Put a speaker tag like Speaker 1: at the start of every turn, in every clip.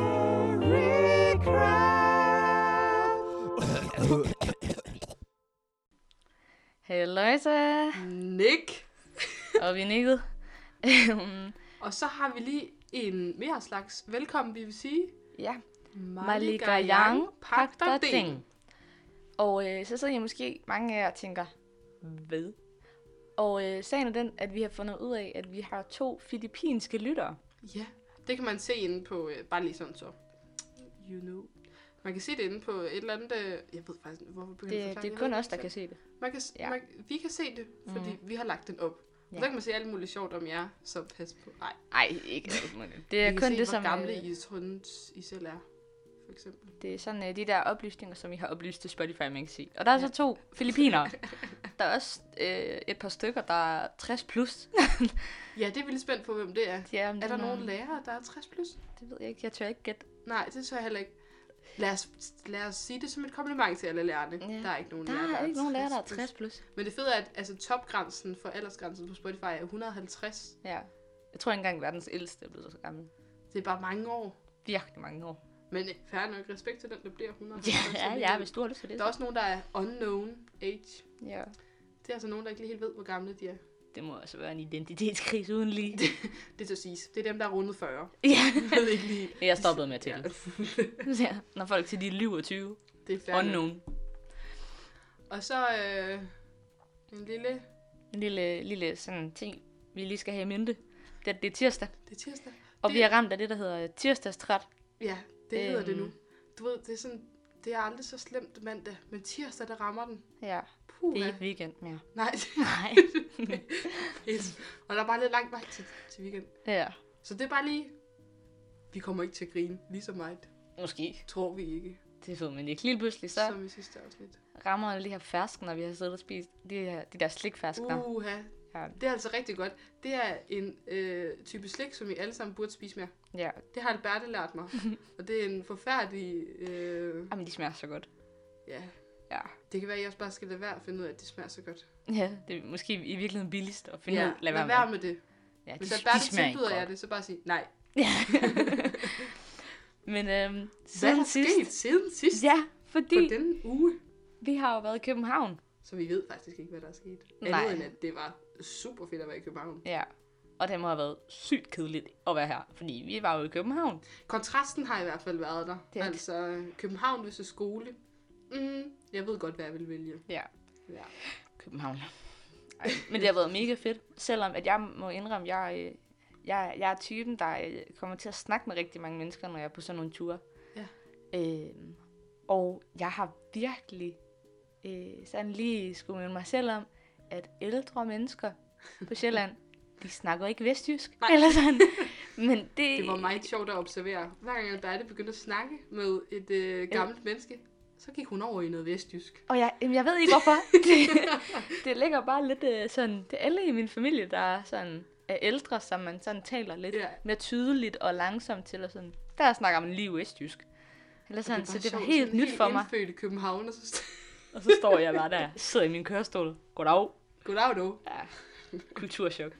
Speaker 1: Cookie Crab.
Speaker 2: Halløjsa.
Speaker 3: Nick.
Speaker 2: Og vi nikkede. Øhm,
Speaker 3: Og så har vi lige en mere slags velkommen, vi vil sige.
Speaker 2: ja.
Speaker 3: Malika
Speaker 2: Maligayang
Speaker 3: Pak
Speaker 2: Pakter
Speaker 3: dig ding.
Speaker 2: Ding. Og øh, så sidder I måske mange af jer og tænker, hvad? Og øh, sagen er den, at vi har fundet ud af, at vi har to filippinske lyttere.
Speaker 3: Ja, det kan man se inde på, øh, bare lige sådan så. You know. Man kan se det inde på et eller andet, øh, jeg ved faktisk, ikke, hvorfor begynder jeg
Speaker 2: Det,
Speaker 3: at
Speaker 2: det er kun os, der kan se det.
Speaker 3: Man kan, s-
Speaker 2: Ja. Mhm.
Speaker 3: man, vi kan se det, fordi mm. vi har lagt den op. Ja.
Speaker 2: Ja.
Speaker 3: Så kan man se alt muligt sjovt om jer, så pas på. Nej,
Speaker 2: Nej, ikke Det
Speaker 3: vi
Speaker 2: er
Speaker 3: kan
Speaker 2: kun
Speaker 3: se,
Speaker 2: det,
Speaker 3: hvor
Speaker 2: som...
Speaker 3: gamle
Speaker 2: øh,
Speaker 3: I, hunds, I selv er, for eksempel.
Speaker 2: Det er sådan øh, de der oplysninger, som I har oplyst til Spotify, man kan sige. Og der er så to filippinere. Der er også øh, et par stykker, der er 60 plus.
Speaker 3: Ja, det er vi lidt spændt på, hvem det er.
Speaker 2: Ja,
Speaker 3: Er der nogen lærere, der er 60 plus?
Speaker 2: Det ved jeg ikke. Jeg tør ikke gætte.
Speaker 3: Nej, det tror jeg heller ikke. Lad os, lad os sige det som et kompliment til alle lærerne.
Speaker 2: Ja.
Speaker 3: Ja. Der er ikke nogen
Speaker 2: Der
Speaker 3: lærere,
Speaker 2: er ikke nogen lærer, der er
Speaker 3: 60+.
Speaker 2: 60 plus.
Speaker 3: Men det fede er, at altså, topgrænsen for aldersgrænsen på Spotify er 150.
Speaker 2: Ja. Jeg tror ikke engang, verdens ældste er blevet så gammel.
Speaker 3: Det er bare mange år.
Speaker 2: Virkelig mange år.
Speaker 3: Men øh, fair nok respekt til den, der bliver 150.
Speaker 2: Ja, ja,
Speaker 3: alligevel.
Speaker 2: hvis du har lyst til det.
Speaker 3: Der er også nogen, der er unknown age.
Speaker 2: Ja.
Speaker 3: Det er altså nogen, der ikke lige helt ved, hvor gamle de er.
Speaker 2: Det må også være en identitetskrise uden lige.
Speaker 3: Det skal siges. Det er dem, der er rundet 40.
Speaker 2: ja.
Speaker 3: Jeg ved ikke lige.
Speaker 2: Jeg stoppede med at
Speaker 3: Ja.
Speaker 2: tælle. Ja. Når folk til de er 27.
Speaker 3: Det er fair
Speaker 2: Og
Speaker 3: nok.
Speaker 2: nogen.
Speaker 3: Og så øh, en lille...
Speaker 2: En lille, lille sådan ting, vi lige skal have i mente. Det, er- det er tirsdag.
Speaker 3: Det er tirsdag.
Speaker 2: Og
Speaker 3: Det-
Speaker 2: vi er ramt af det, der hedder tirsdagstræt.
Speaker 3: Ja, det hedder det nu.
Speaker 2: Øhm.
Speaker 3: Du ved, det er sådan... Det er aldrig så slemt mandag, men tirsdag, der rammer den.
Speaker 2: Ja,
Speaker 3: Puh,
Speaker 2: det er ikke weekend mere.
Speaker 3: Nej,
Speaker 2: Nej.
Speaker 3: det- og der er bare lidt lang vej til, til weekend.
Speaker 2: ja,
Speaker 3: Så det er bare lige... Vi kommer ikke til at grine lige så meget.
Speaker 2: måske.
Speaker 3: Tror vi ikke.
Speaker 2: Det ved man ikke. Lige pludselig så
Speaker 3: Så. Som i sidste afsnit.
Speaker 2: rammer de her ferskner, vi har siddet og spist. De, her, de der slikferskner. Uh.
Speaker 3: Uha.
Speaker 2: Ja.
Speaker 3: Det er altså rigtig godt. Det er en øh, type slik, som vi alle sammen burde spise mere.
Speaker 2: ja.
Speaker 3: Det har Alberte lært mig. og det er en forfærdelig... Øh,
Speaker 2: Jamen, de smager så godt.
Speaker 3: ja.
Speaker 2: Ja.
Speaker 3: Det kan være, at jeg også bare skal lade være at finde ud af, at det smager så godt.
Speaker 2: Ja, det er måske i virkeligheden billigst at finde ja. ud. Lad være med.
Speaker 3: med det.
Speaker 2: Ja, de,
Speaker 3: Hvis
Speaker 2: de
Speaker 3: Alberte
Speaker 2: smager ikke
Speaker 3: tilbyder jer
Speaker 2: godt.
Speaker 3: det, så bare sig nej.
Speaker 2: Ja. Men øhm,
Speaker 3: Hvad er
Speaker 2: siden
Speaker 3: der
Speaker 2: sidst.
Speaker 3: sket siden sidst?
Speaker 2: Ja, fordi
Speaker 3: På denne uge.
Speaker 2: vi har jo været i København.
Speaker 3: Så vi ved faktisk ikke, hvad der er sket.
Speaker 2: Nej.
Speaker 3: Andet end, at det var super fedt at være i København.
Speaker 2: Ja. Og det må have været sygt kedeligt at være her. Fordi vi var jo i København.
Speaker 3: Kontrasten har i hvert fald været der.
Speaker 2: Det er det.
Speaker 3: Altså, København versus skole. Mm, jeg ved godt, hvad jeg vil vælge.
Speaker 2: Ja.
Speaker 3: Ja.
Speaker 2: København. Ej, men det har været mega fedt, selvom at jeg må indrømme, jeg, øh, jeg, jeg er typen, der øh, kommer til at snakke med rigtig mange mennesker, når jeg er på sådan nogle ture.
Speaker 3: Ja.
Speaker 2: Øh, og jeg har virkelig øh, sådan lige skulle minde mig selv om, at ældre mennesker på Sjælland, de snakker ikke vestjysk, Nej.
Speaker 3: Nej.
Speaker 2: eller sådan. Men det,
Speaker 3: Det var meget sjovt at observere. Hver gang Alberte begyndte at snakke med et øh, gammelt menneske, så gik hun over i noget vestjysk.
Speaker 2: Og jeg, jamen, jeg ved ikke hvorfor. det, det ligger bare lidt øh, sådan, det er alle i min familie, der er sådan er ældre, som man sådan taler lidt
Speaker 3: Ja.
Speaker 2: mere tydeligt og langsomt til, og sådan, der snakker man lige vestjysk. Eller sådan, så
Speaker 3: bare
Speaker 2: det var
Speaker 3: sjovt,
Speaker 2: helt
Speaker 3: sådan
Speaker 2: nyt for mig.
Speaker 3: Indfødte København, og så
Speaker 2: Og så står jeg bare der, sidder i min kørestol. Goddag.
Speaker 3: goddag dog.
Speaker 2: Ja, kulturschok.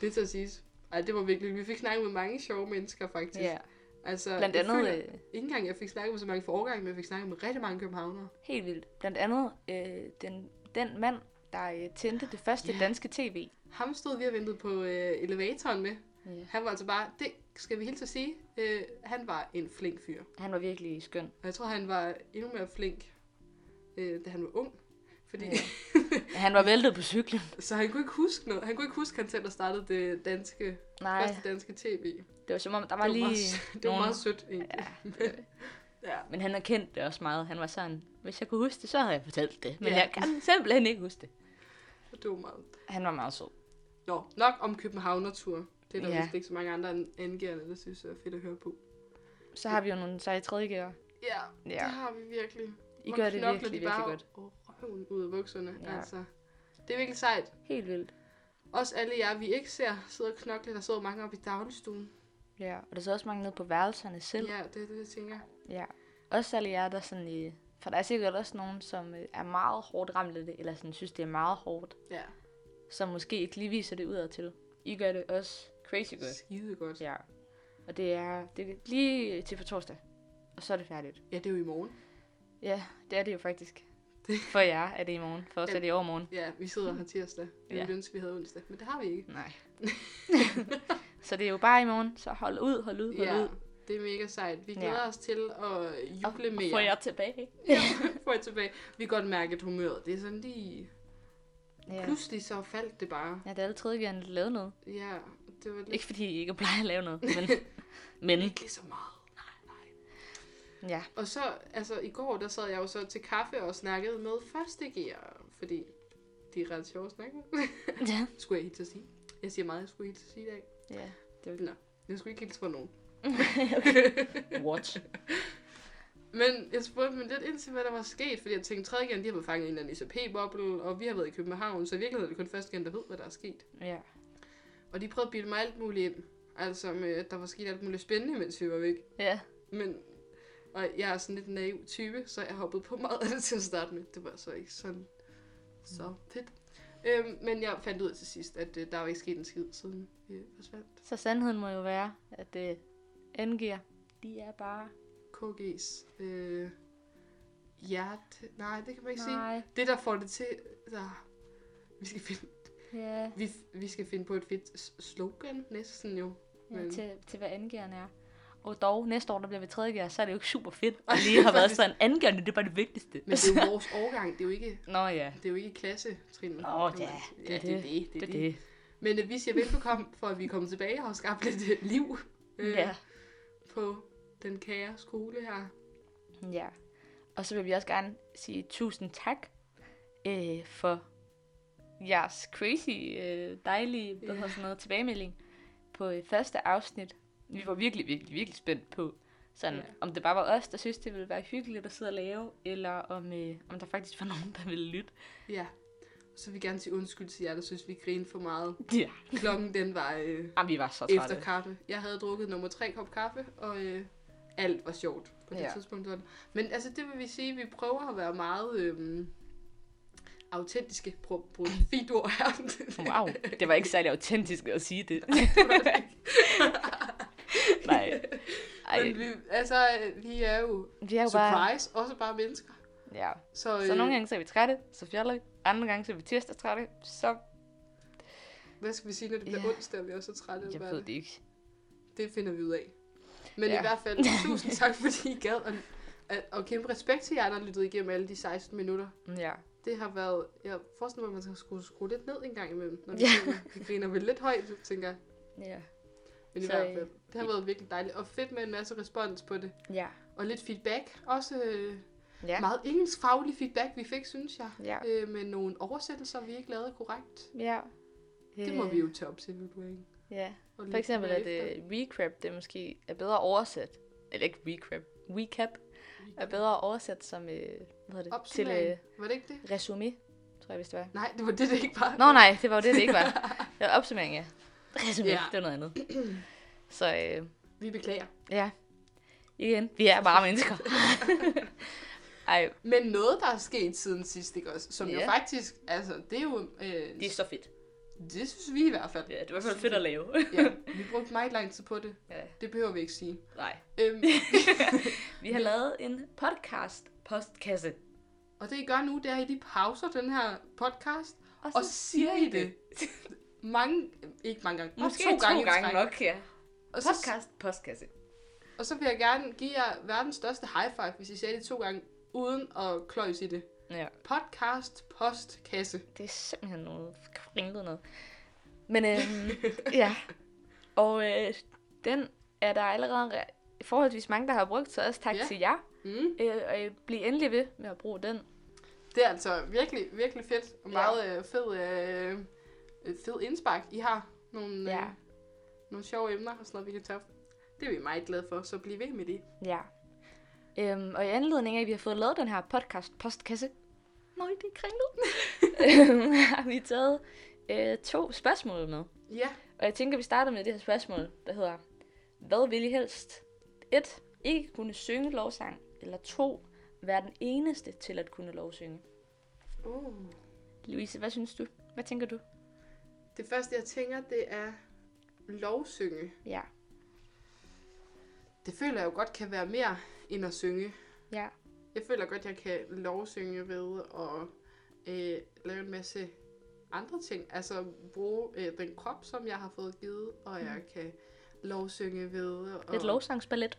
Speaker 3: Det er til at siges. Ej, det var virkelig. Vi fik snakket med mange sjove mennesker, faktisk.
Speaker 2: Ja,
Speaker 3: Altså,
Speaker 2: blandt
Speaker 3: jeg
Speaker 2: andet
Speaker 3: føler
Speaker 2: øh,
Speaker 3: Ikke engang jeg fik snakket med så mange for årgangen, men jeg fik snakket med rigtig mange københavnere.
Speaker 2: helt vildt. Blandt andet øh, den, den mand, der øh, tændte det første
Speaker 3: Ja.
Speaker 2: danske tv.
Speaker 3: Ham stod vi og ventede på øh, elevatoren med.
Speaker 2: Ja.
Speaker 3: Han var altså bare, det skal vi helt at sige, øh, han var en flink fyr.
Speaker 2: Han var virkelig skøn.
Speaker 3: Og jeg tror, han var endnu mere flink, øh, da han var ung. Fordi,
Speaker 2: Ja. Han var væltet på cyklen.
Speaker 3: så han kunne ikke huske noget. Han kunne ikke huske, at han selv havde startet det danske,
Speaker 2: Nej,
Speaker 3: første danske tv.
Speaker 2: det var som om, der var
Speaker 3: det var,
Speaker 2: lige...
Speaker 3: meget, sø- det var
Speaker 2: nogle-
Speaker 3: meget sødt, egentlig. Ja. ja.
Speaker 2: Men han har kendt det også meget. Han var sådan, hvis jeg kunne huske det, så havde jeg fortalt det. Men
Speaker 3: Ja.
Speaker 2: jeg kan simpelthen ikke huske det.
Speaker 3: Det var meget.
Speaker 2: Han var meget sød.
Speaker 3: Nå, nok om Københavnertur. Det er der
Speaker 2: Ja.
Speaker 3: ja. vist ikke så mange andre end angiverne, der synes, det er fedt at høre på.
Speaker 2: Så har vi jo nogle seje tredjegærer.
Speaker 3: Ja,
Speaker 2: Ja.
Speaker 3: ja, det har vi virkelig.
Speaker 2: I
Speaker 3: Hvor
Speaker 2: gør det
Speaker 3: knokler
Speaker 2: virkelig,
Speaker 3: de bare
Speaker 2: virkelig godt.
Speaker 3: over røven ud af bukserne.
Speaker 2: Ja.
Speaker 3: Ja. Altså, det er virkelig sejt.
Speaker 2: Helt vildt.
Speaker 3: Også alle jer, vi ikke ser, sidder og knokler. Der sidder mange oppe i dagligstuen.
Speaker 2: Ja, og der er så også mange nede på værelserne selv. Ja.
Speaker 3: Ja, det er det, jeg tænker.
Speaker 2: ja. Også alle jer, der sådan i... For der er sikkert også nogen, som øh, er meget hårdt ramt af det, eller sådan synes, det er meget hårdt,
Speaker 3: Ja,
Speaker 2: som måske ikke lige viser det udad til. I gør det også crazy godt.
Speaker 3: skide godt.
Speaker 2: Ja. Og det er, det er lige til på torsdag. Og så er det færdigt.
Speaker 3: Ja, det er jo i morgen.
Speaker 2: Ja, det er det jo faktisk.
Speaker 3: Det-
Speaker 2: For jer er det i morgen. For os er det i overmorgen.
Speaker 3: Ja, vi sidder her tirsdag. Vi
Speaker 2: Ja.
Speaker 3: ville ønske, vi havde onsdag, men det har vi ikke.
Speaker 2: Nej. så det er jo bare i morgen. Så hold ud, hold ud, hold
Speaker 3: Ja,
Speaker 2: ud.
Speaker 3: det er mega sejt. Vi glæder ja. os til at
Speaker 2: Og,
Speaker 3: juble
Speaker 2: og
Speaker 3: mere.
Speaker 2: få jer tilbage.
Speaker 3: ja, få jer tilbage. Vi kan godt mærke, at humøret det er sådan lige... Ja.
Speaker 2: Ja.
Speaker 3: Pludselig så faldt det bare.
Speaker 2: Ja, det er alle tredje gerne lavet noget.
Speaker 3: Ja, det var lidt...
Speaker 2: Ikke fordi I ikke plejer at lave noget, men, men
Speaker 3: ikke lige så meget.
Speaker 2: ja.
Speaker 3: Og så, altså i går, der sad jeg jo så til kaffe og snakkede med første gear, fordi de er ret sjove at snakke med.
Speaker 2: ja.
Speaker 3: skulle jeg helt til at sige. Jeg siger meget, jeg skulle helt til at sige i dag.
Speaker 2: Ja, det
Speaker 3: Nå, jeg skulle ikke helt fra nogen.
Speaker 2: er What?
Speaker 3: Men jeg spurgte dem lidt ind til, hvad der var sket, fordi jeg tænkte, tredje gang, de har været fanget i en eller anden ICP-boble, og vi har været i København, så i virkeligheden er det kun første gang, der ved, hvad der er sket.
Speaker 2: Ja.
Speaker 3: Og de prøvede at bilde mig alt muligt ind, altså med, at der var sket alt muligt spændende, mens vi var væk.
Speaker 2: Ja.
Speaker 3: Men, og jeg er sådan lidt en naiv type, så jeg hoppede på meget af det til at starte med. Det var så ikke sådan så fedt. Øhm, men jeg fandt ud af til sidst, at øh, der var ikke sket en skid, siden vi forsvandt.
Speaker 2: Så sandheden må jo være, at det angiver. De er bare...
Speaker 3: KG's øh, hjerte... Nej, det kan man ikke sige.
Speaker 2: Nej.
Speaker 3: Det, der får det til... Der... Vi, skal finde,
Speaker 2: Ja.
Speaker 3: vi, vi skal finde på et fedt s- slogan næsten jo.
Speaker 2: ja
Speaker 3: Men-
Speaker 2: til, til hvad angiverne er. Og dog, næste år, der bliver vi tredje gear, så er det jo ikke super fedt at lige har været sådan angiverne. Det er bare det vigtigste.
Speaker 3: Men det er jo vores årgang, det er jo ikke,
Speaker 2: Nå ja.
Speaker 3: det er jo ikke klassetrinnet.
Speaker 2: Åh,
Speaker 3: kan
Speaker 2: ja,
Speaker 3: man sige.
Speaker 2: det er
Speaker 3: ja, det, er
Speaker 2: det.
Speaker 3: det,
Speaker 2: Det er det.
Speaker 3: Men øh, vi siger velbekomme for, at vi er kommet tilbage og har skabt lidt øh, liv øh,
Speaker 2: Ja.
Speaker 3: ja. på den kære skole her.
Speaker 2: Øh, Ja. Og så vil vi også gerne sige tusind tak øh, for jeres crazy, øh, dejlige hvad hedder sådan noget, tilbagemelding på øh, første afsnit. Vi var virkelig, virkelig, virkelig spændt på, sådan,
Speaker 3: Ja.
Speaker 2: om det bare var os, der synes, det ville være hyggeligt at sidde og lave, eller om, øh, om der faktisk var nogen, der ville lytte.
Speaker 3: Ja. Så vil vi gerne sige undskyld til jer, der synes, vi griner for meget.
Speaker 2: Ja.
Speaker 3: Klokken den var øh,
Speaker 2: Jamen, vi var så trætte.
Speaker 3: efter kaffe. Jeg havde drukket nummer tre kop kaffe, og øh, alt var sjovt på det
Speaker 2: Ja.
Speaker 3: ja. tidspunkt. var det. Men altså, det vil vi sige, vi prøver at være meget øh, autentiske. Prøv at bruge et fint ord her.
Speaker 2: Wow, det var ikke særlig autentisk at sige det. Nej. Ej,
Speaker 3: Men vi, altså, øh, vi er jo,
Speaker 2: vi er jo bare...
Speaker 3: surprise, også bare mennesker.
Speaker 2: Ja.
Speaker 3: Så, øh,
Speaker 2: Så nogle gange så er vi trætte, så fjoller vi. Andre gange så er vi tirsdagstrætte, så...
Speaker 3: Hvad skal vi sige, når det bliver
Speaker 2: Ja.
Speaker 3: yeah. onsdag, og vi er så trætte?
Speaker 2: Jeg
Speaker 3: eller hvad
Speaker 2: ved
Speaker 3: er
Speaker 2: det ikke.
Speaker 3: det? det finder vi ud af. Men
Speaker 2: Ja.
Speaker 3: i hvert fald, tusind tak, fordi I gad. Og, at- og kæmpe respekt til jer, der har lyttet igennem alle de 16 minutter.
Speaker 2: Mm, Ja.
Speaker 3: Det har været... Jeg forestiller mig, at man skal skrue, skrue lidt ned en gang imellem. Når vi
Speaker 2: Ja.
Speaker 3: griner. vi griner vel lidt højt, tænker jeg.
Speaker 2: Ja.
Speaker 3: Men i
Speaker 2: Så,
Speaker 3: hvert
Speaker 2: øh,
Speaker 3: fald, det har været virkelig dejligt. Og fedt med en masse respons på det.
Speaker 2: Ja.
Speaker 3: Og lidt feedback. Også øh,
Speaker 2: Ja.
Speaker 3: meget engelsk faglig feedback, vi fik, synes jeg.
Speaker 2: Ja.
Speaker 3: Øh, med nogle oversættelser, vi ikke lavede korrekt.
Speaker 2: ja.
Speaker 3: Det må vi jo tage op til evaluering.
Speaker 2: Ja.
Speaker 3: og
Speaker 2: Øh. For
Speaker 3: lytte
Speaker 2: eksempel, at
Speaker 3: bagefter.
Speaker 2: uh, recap, det måske er bedre oversat. Eller ikke recap. Recap er bedre oversat som, uh, hvad hedder det? Til
Speaker 3: Opsummering.
Speaker 2: uh,
Speaker 3: Var det ikke det?
Speaker 2: resume, tror jeg, hvis det var.
Speaker 3: Nej, det var det, det ikke var.
Speaker 2: Nå nej, det var jo det, det ikke var. Det var opsummering, ja. Resume, ja.
Speaker 3: Ja.
Speaker 2: det var noget andet. Så uh,
Speaker 3: Vi beklager.
Speaker 2: ja. Igen, vi er bare mennesker. Ej,
Speaker 3: Men noget, der er sket siden sidst, ikke også? Som
Speaker 2: Ja.
Speaker 3: jo faktisk, altså, det er jo... Øh,
Speaker 2: det er så fedt.
Speaker 3: det synes vi i hvert fald.
Speaker 2: Ja, det er i hvert fald fedt at lave.
Speaker 3: ja, vi brugte meget lang tid på det.
Speaker 2: ja.
Speaker 3: Det behøver vi ikke sige.
Speaker 2: Nej.
Speaker 3: Øhm,
Speaker 2: Vi har lavet en podcast postkasse.
Speaker 3: og det, I gør nu, det er, at I lige pauser den her podcast.
Speaker 2: Og
Speaker 3: Og så siger I det. Mange, ikke mange gange, bare
Speaker 2: Måske to, gange,
Speaker 3: i
Speaker 2: gange
Speaker 3: træk.
Speaker 2: nok, ja.
Speaker 3: Og så,
Speaker 2: Podcast postkasse.
Speaker 3: og så vil jeg gerne give jer verdens største high five, hvis I siger det to gange, uden at kløjs i det.
Speaker 2: Ja,
Speaker 3: Podcast, post, kasse.
Speaker 2: det er simpelthen noget kringlet noget. Men øhm, ja, og øh, den er der allerede re- forholdsvis mange, der har brugt, så også tak
Speaker 3: Ja.
Speaker 2: til jer.
Speaker 3: Mm.
Speaker 2: Øh, og øh, bliv endelig ved med at bruge den.
Speaker 3: Det er altså virkelig, virkelig fedt. Og meget øh, fed, øh, øh, fed indspark, I har. Nogle,
Speaker 2: Ja.
Speaker 3: øh, nogle sjove emner og sådan noget, vi kan tage op. Det er vi meget glade for, så bliv ved med det.
Speaker 2: Ja. Øhm, og i anledning af, at vi har fået lavet den her podcast postkasse, må det er kringlet, øhm, har vi taget øh, to spørgsmål med.
Speaker 3: Ja,
Speaker 2: Og jeg tænker, vi starter med det her spørgsmål, der hedder, hvad vil I helst? 1. Ikke kunne synge lovsang, eller 2. Være den eneste til at kunne lovsynge.
Speaker 3: uh.
Speaker 2: Louise, hvad synes du? Hvad tænker du?
Speaker 3: det første jeg tænker, det er lovsynge.
Speaker 2: Ja.
Speaker 3: det føler jeg jo godt kan være mere end at synge.
Speaker 2: Ja.
Speaker 3: Jeg føler godt, jeg kan lovsynge ved at øh, lave en masse andre ting. Altså bruge øh, den krop, som jeg har fået givet, og jeg kan lovsynge ved. Og...
Speaker 2: Mm. Lidt lovsangsballet.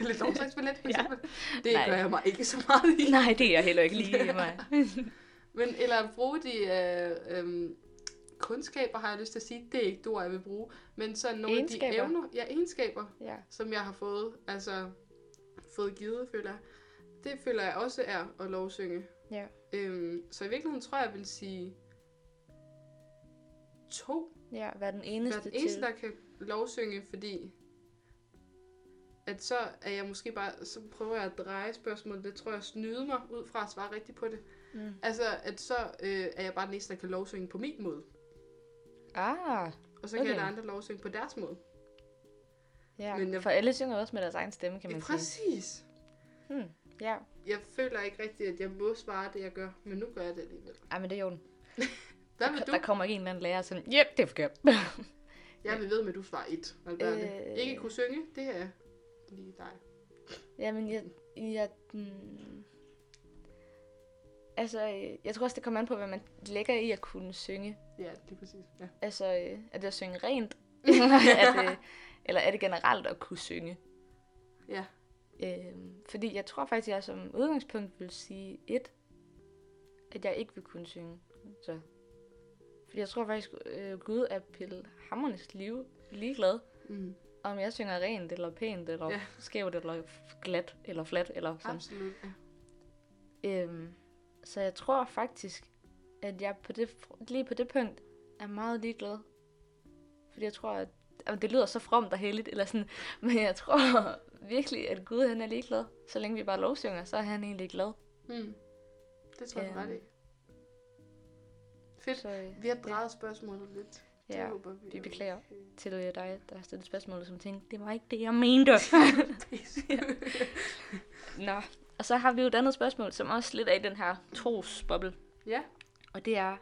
Speaker 3: Lidt lovsangsballet, for
Speaker 2: Ja.
Speaker 3: eksempel. Det
Speaker 2: Nej.
Speaker 3: gør jeg mig ikke så meget i.
Speaker 2: Nej, det er jeg heller ikke lige mig.
Speaker 3: Men, eller bruge de øh, øh, kundskaber, har jeg lyst til at sige. Det er ikke det ord, jeg vil bruge. Men sådan nogle af de
Speaker 2: Egenskaber.
Speaker 3: evner, ja, egenskaber,
Speaker 2: Ja.
Speaker 3: som jeg har fået, altså fået givet, føler jeg. Det føler jeg også er at lovsynge.
Speaker 2: Ja.
Speaker 3: Øhm, så i virkeligheden tror jeg, jeg vil sige to.
Speaker 2: Ja, være den
Speaker 3: Jeg er
Speaker 2: eneste,
Speaker 3: den eneste,
Speaker 2: til.
Speaker 3: der kan lovsynge, fordi at så er jeg måske bare, så prøver jeg at dreje spørgsmålet, det tror jeg snyder mig ud fra at svare rigtigt på det.
Speaker 2: Mm.
Speaker 3: Altså, at så øh, er jeg bare den eneste, der kan lovsynge på min måde.
Speaker 2: Ah,
Speaker 3: Og så kan
Speaker 2: Okay.
Speaker 3: alle andre lovsynge på deres måde.
Speaker 2: ja.
Speaker 3: Men jeg-
Speaker 2: For alle synger også med deres egen stemme, kan man sige.
Speaker 3: Præcis.
Speaker 2: Hmm. Ja.
Speaker 3: Jeg føler ikke rigtigt, at jeg må svare det, jeg gør, men nu gør jeg det alligevel.
Speaker 2: Ej, men det er jo den.
Speaker 3: Der vil du.
Speaker 2: Der kommer ikke en eller anden lærer og sådan, yep, det er forkert.
Speaker 3: Jeg vil ved med, at du svarer et, Alberte.
Speaker 2: Øh.
Speaker 3: Øh... Ikke kunne synge, det er lige dig.
Speaker 2: Jamen, jeg... jeg mm, altså, øh, jeg tror også, det kommer an på, hvad man lægger i at kunne synge.
Speaker 3: Ja, det er præcis. Ja.
Speaker 2: Altså, øh, er det at synge rent? eller, er det, eller er det generelt at kunne synge?
Speaker 3: ja.
Speaker 2: Øh, fordi jeg tror faktisk, jeg som udgangspunkt vil sige et, at jeg ikke vil kunne synge. Så. Fordi jeg tror faktisk, øh, Gud er pille hammernes liv ligeglad,
Speaker 3: Mm.
Speaker 2: om jeg synger rent, eller pænt, eller ja.
Speaker 3: Ja.
Speaker 2: skævt, eller f- glat, eller flat, eller sådan.
Speaker 3: Absolut. Ja.
Speaker 2: Øhm, så jeg tror faktisk, at jeg på det, lige på det punkt er meget ligeglad. Fordi jeg tror, at og det lyder så fromt og heldigt, eller sådan, men jeg tror virkelig, at Gud han er ligeglad. Så længe vi bare lovsynger, så er han egentlig glad.
Speaker 3: Mm. Det tror jeg, du har ret i. Fedt.
Speaker 2: Øhm. Så øh,
Speaker 3: Vi har drejet spørgsmålet lidt. Det
Speaker 2: ja,
Speaker 3: håber vi.
Speaker 2: vi
Speaker 3: er
Speaker 2: beklager.
Speaker 3: okay.
Speaker 2: til øh, dig, der har stillet spørgsmålet, som tænkte, det var ikke det, jeg mente. Nå, og så har vi jo et andet spørgsmål, som også lidt er i den her trosboble.
Speaker 3: ja.
Speaker 2: Og det er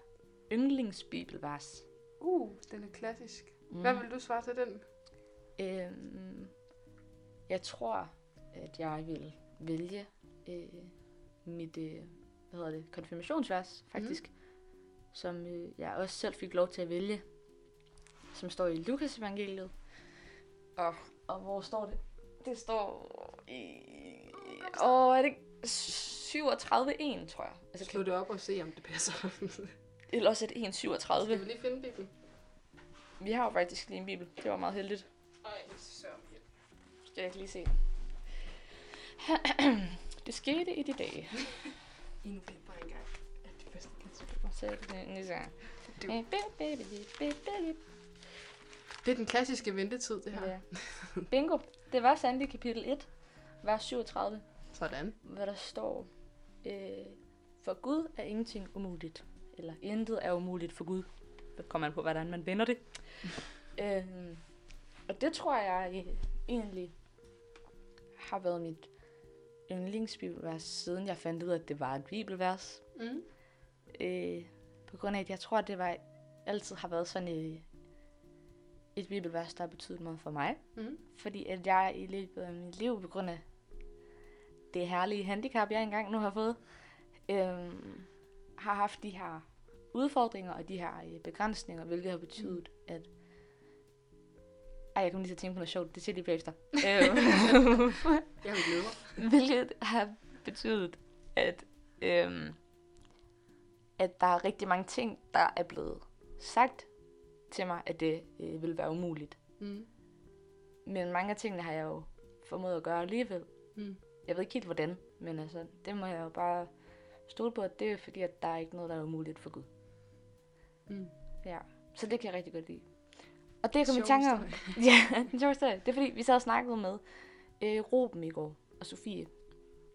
Speaker 2: yndlingsbibelvers.
Speaker 3: Uh, den er klassisk. Hvad
Speaker 2: Mm.
Speaker 3: vil du svare til den?
Speaker 2: Øhm, jeg tror, at jeg vil vælge øh, mit øh, hvad hedder det, konfirmationsvers, faktisk, mm. som øh, jeg også selv fik lov til at vælge, som står i Lukas evangeliet. Og, og hvor står det? Det står i... Åh, er det 37.1, tror jeg. Altså,
Speaker 3: Slå
Speaker 2: kan,
Speaker 3: det op og se, om det passer.
Speaker 2: eller også er det
Speaker 3: Skal
Speaker 2: 1.37.
Speaker 3: vi lige finde Bibelen?
Speaker 2: Vi har jo faktisk lige en bibel. Det var meget heldigt.
Speaker 3: Ej, så hjælp.
Speaker 2: Skal jeg ikke lige se. det skete i de dage.
Speaker 3: I nu bliver bare engang. at det bedste kan ske.
Speaker 2: Så er det en lille sang.
Speaker 3: Du.
Speaker 2: Øh, bip, bip, bip, bip, bip, bip.
Speaker 3: Det er den klassiske ventetid, det her.
Speaker 2: Ja. Bingo. Det var sandt i kapitel 1, vers 37,
Speaker 3: Sådan.
Speaker 2: hvor der står, øh, for Gud er ingenting umuligt. Eller intet er umuligt for Gud. Det kommer an på, hvordan man vender det. øh, og det tror jeg øh, egentlig har været mit yndlingsbibelvers, siden jeg fandt ud af, at det var et bibelvers.
Speaker 3: Mm.
Speaker 2: Øh, på grund af, at jeg tror, at det var, altid har været sådan et, et bibelvers, der har betydet meget for mig.
Speaker 3: Mm.
Speaker 2: Fordi at jeg i løbet af mit liv, på grund af det herlige handicap, jeg engang nu har fået, øh, har haft de her udfordringer og de her øh, begrænsninger, hvilket har betydet, at... Ej, jeg kom lige til at tænke på noget sjovt. Det siger jeg lige bagefter. Øhm.
Speaker 3: Jeg vil glæde mig.
Speaker 2: Hvilket har betydet, at, øhm, at der er rigtig mange ting, der er blevet sagt til mig, at det øh, ville være umuligt.
Speaker 3: Mm.
Speaker 2: Men mange af tingene har jeg jo formået at gøre alligevel.
Speaker 3: Mm.
Speaker 2: Jeg ved ikke helt hvordan, men altså, det må jeg jo bare stole på, at det er fordi, at der er ikke noget, der er umuligt for Gud.
Speaker 3: Mm.
Speaker 2: Ja, så det kan jeg rigtig godt lide. Og det kom i
Speaker 3: Sjov
Speaker 2: tanke om. ja, den sjoveste historie. Det er fordi, vi sad og snakkede med øh, Ruben i går, og Sofie.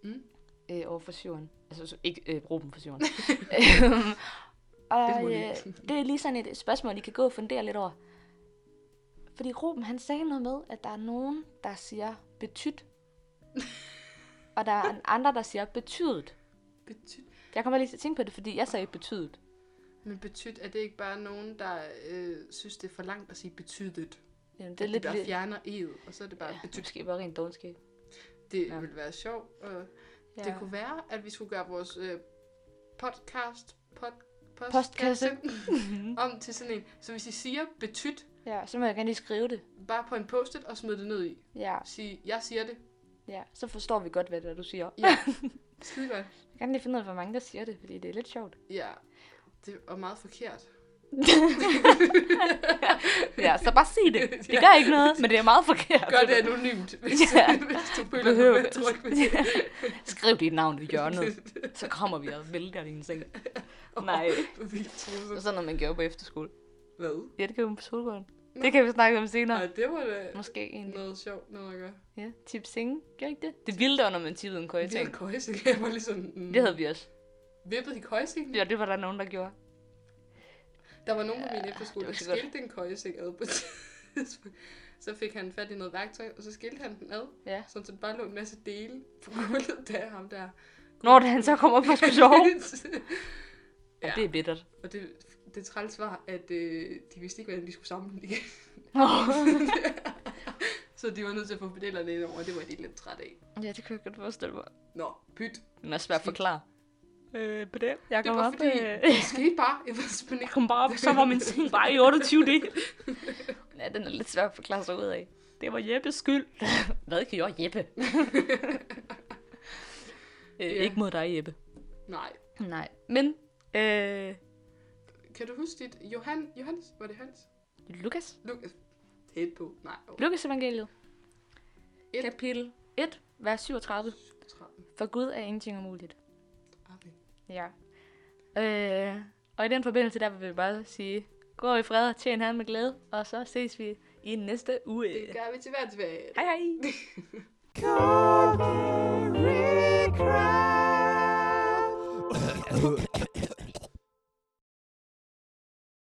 Speaker 3: Mm.
Speaker 2: Øh, over for syveren. Altså så- ikke øh, Ruben for syveren.
Speaker 3: Det
Speaker 2: og
Speaker 3: må
Speaker 2: det,
Speaker 3: de
Speaker 2: øh, det er lige sådan et spørgsmål, I kan gå og fundere lidt over. Fordi Ruben, han sagde noget med, at der er nogen, der siger betydt. og der er en andre, der siger betydet.
Speaker 3: Betyt.
Speaker 2: Jeg kommer lige til at tænke på det, fordi jeg sagde betydet.
Speaker 3: Men betydt, er det ikke bare nogen, der øh, synes, det er for langt at sige betydet?
Speaker 2: Jamen, det er
Speaker 3: Det er de
Speaker 2: lidt...
Speaker 3: bare
Speaker 2: lidt-
Speaker 3: fjerner eget, og så er det bare...
Speaker 2: Ja,
Speaker 3: Ja.
Speaker 2: måske bare rent dogenskab.
Speaker 3: Det
Speaker 2: Ja.
Speaker 3: ja. ville være sjovt. Og ja. Det kunne være, at vi skulle gøre vores øh, podcast... Pod, post,
Speaker 2: Postkasse.
Speaker 3: om til sådan en. Så hvis I siger betydt,
Speaker 2: ja, så må jeg gerne lige skrive det.
Speaker 3: bare på en post-it og smid det ned i.
Speaker 2: Ja,
Speaker 3: Sig, jeg siger det.
Speaker 2: ja. Så forstår vi godt, hvad det er, du siger.
Speaker 3: Ja. Skide godt.
Speaker 2: Jeg kan lige finde ud af, hvor mange der siger det, fordi det er lidt sjovt.
Speaker 3: Ja. Det var meget forkert.
Speaker 2: Ja, så bare sig det. Det
Speaker 3: Ja.
Speaker 2: gør ikke noget, men det er meget forkert.
Speaker 3: Gør det anonymt, hvis,
Speaker 2: Ja.
Speaker 3: ja. hvis du føler dig
Speaker 2: Behøver
Speaker 3: med
Speaker 2: ikke.
Speaker 3: tryk ved det.
Speaker 2: Skriv dit navn i hjørnet, så kommer vi og vælter din seng. Nej.
Speaker 3: Åh, vildt
Speaker 2: Det er
Speaker 3: trusset.
Speaker 2: sådan noget, man gjorde på efterskole.
Speaker 3: Hvad?
Speaker 2: Ja, det kan vi på solgården. Det kan vi snakke om
Speaker 3: Nej,
Speaker 2: senere.
Speaker 3: det var da
Speaker 2: Måske egentlig.
Speaker 3: noget sjovt noget at gøre.
Speaker 2: Ja, tip senge. Gør ikke det? Det vilde var, når man tippede en
Speaker 3: Vi havde
Speaker 2: køjetang.
Speaker 3: køjsing. Jeg var lige sådan... Mm,
Speaker 2: Det havde vi også.
Speaker 3: Vippet i køjsingen?
Speaker 2: Ja, det var der nogen, der gjorde.
Speaker 3: Der var nogen på min
Speaker 2: det var
Speaker 3: efterskole, der
Speaker 2: ikke så godt.
Speaker 3: skilte en køjeseng ad på et tidspunkt. Så fik han fat i noget værktøj, og så skilte han den ad.
Speaker 2: Ja.
Speaker 3: Sådan, så der bare lå en masse dele på gulvet der ham der.
Speaker 2: Når da han så kommer op og skulle sove. Og
Speaker 3: Ja.
Speaker 2: det er bittert.
Speaker 3: og det, det træls var, at øh, de vidste ikke, hvordan de skulle samle den igen. så de var nødt til at få pedellerne ind over, og det var de lidt træt af.
Speaker 2: ja, det kan jeg godt forestille mig.
Speaker 3: Nå, pyt.
Speaker 2: Men også svært at forklare. Øh, på det. Jeg
Speaker 3: Det
Speaker 2: kom
Speaker 3: var
Speaker 2: op,
Speaker 3: fordi,
Speaker 2: øh,
Speaker 3: det skete bare. Jeg var simpelthen
Speaker 2: jeg
Speaker 3: ikke
Speaker 2: kom bare op, så var min seng bare i 28 dele. ja, den er lidt svær at forklare sig ud af. Det var Jeppes skyld. Hvad kan jeg, Jeppe? øh,
Speaker 3: Ja.
Speaker 2: Ikke mod dig, Jeppe.
Speaker 3: Nej.
Speaker 2: Nej. Men, øh,
Speaker 3: Kan du huske dit... Johan... Johannes? Var det Hans?
Speaker 2: Lukas.
Speaker 3: Lukas? Tæt på. Nej. Oh.
Speaker 2: Lukas evangeliet.
Speaker 3: Et.
Speaker 2: Kapitel 1, vers 37. For Gud er ingenting umuligt.
Speaker 3: Amen.
Speaker 2: Ja. Øh, og i den forbindelse, der vil vi bare sige, gå i fred og tjen her med glæde, og så ses vi i næste uge.
Speaker 3: Det gør vi til hver tilbage.
Speaker 2: Hej hej!
Speaker 1: Corky Crab.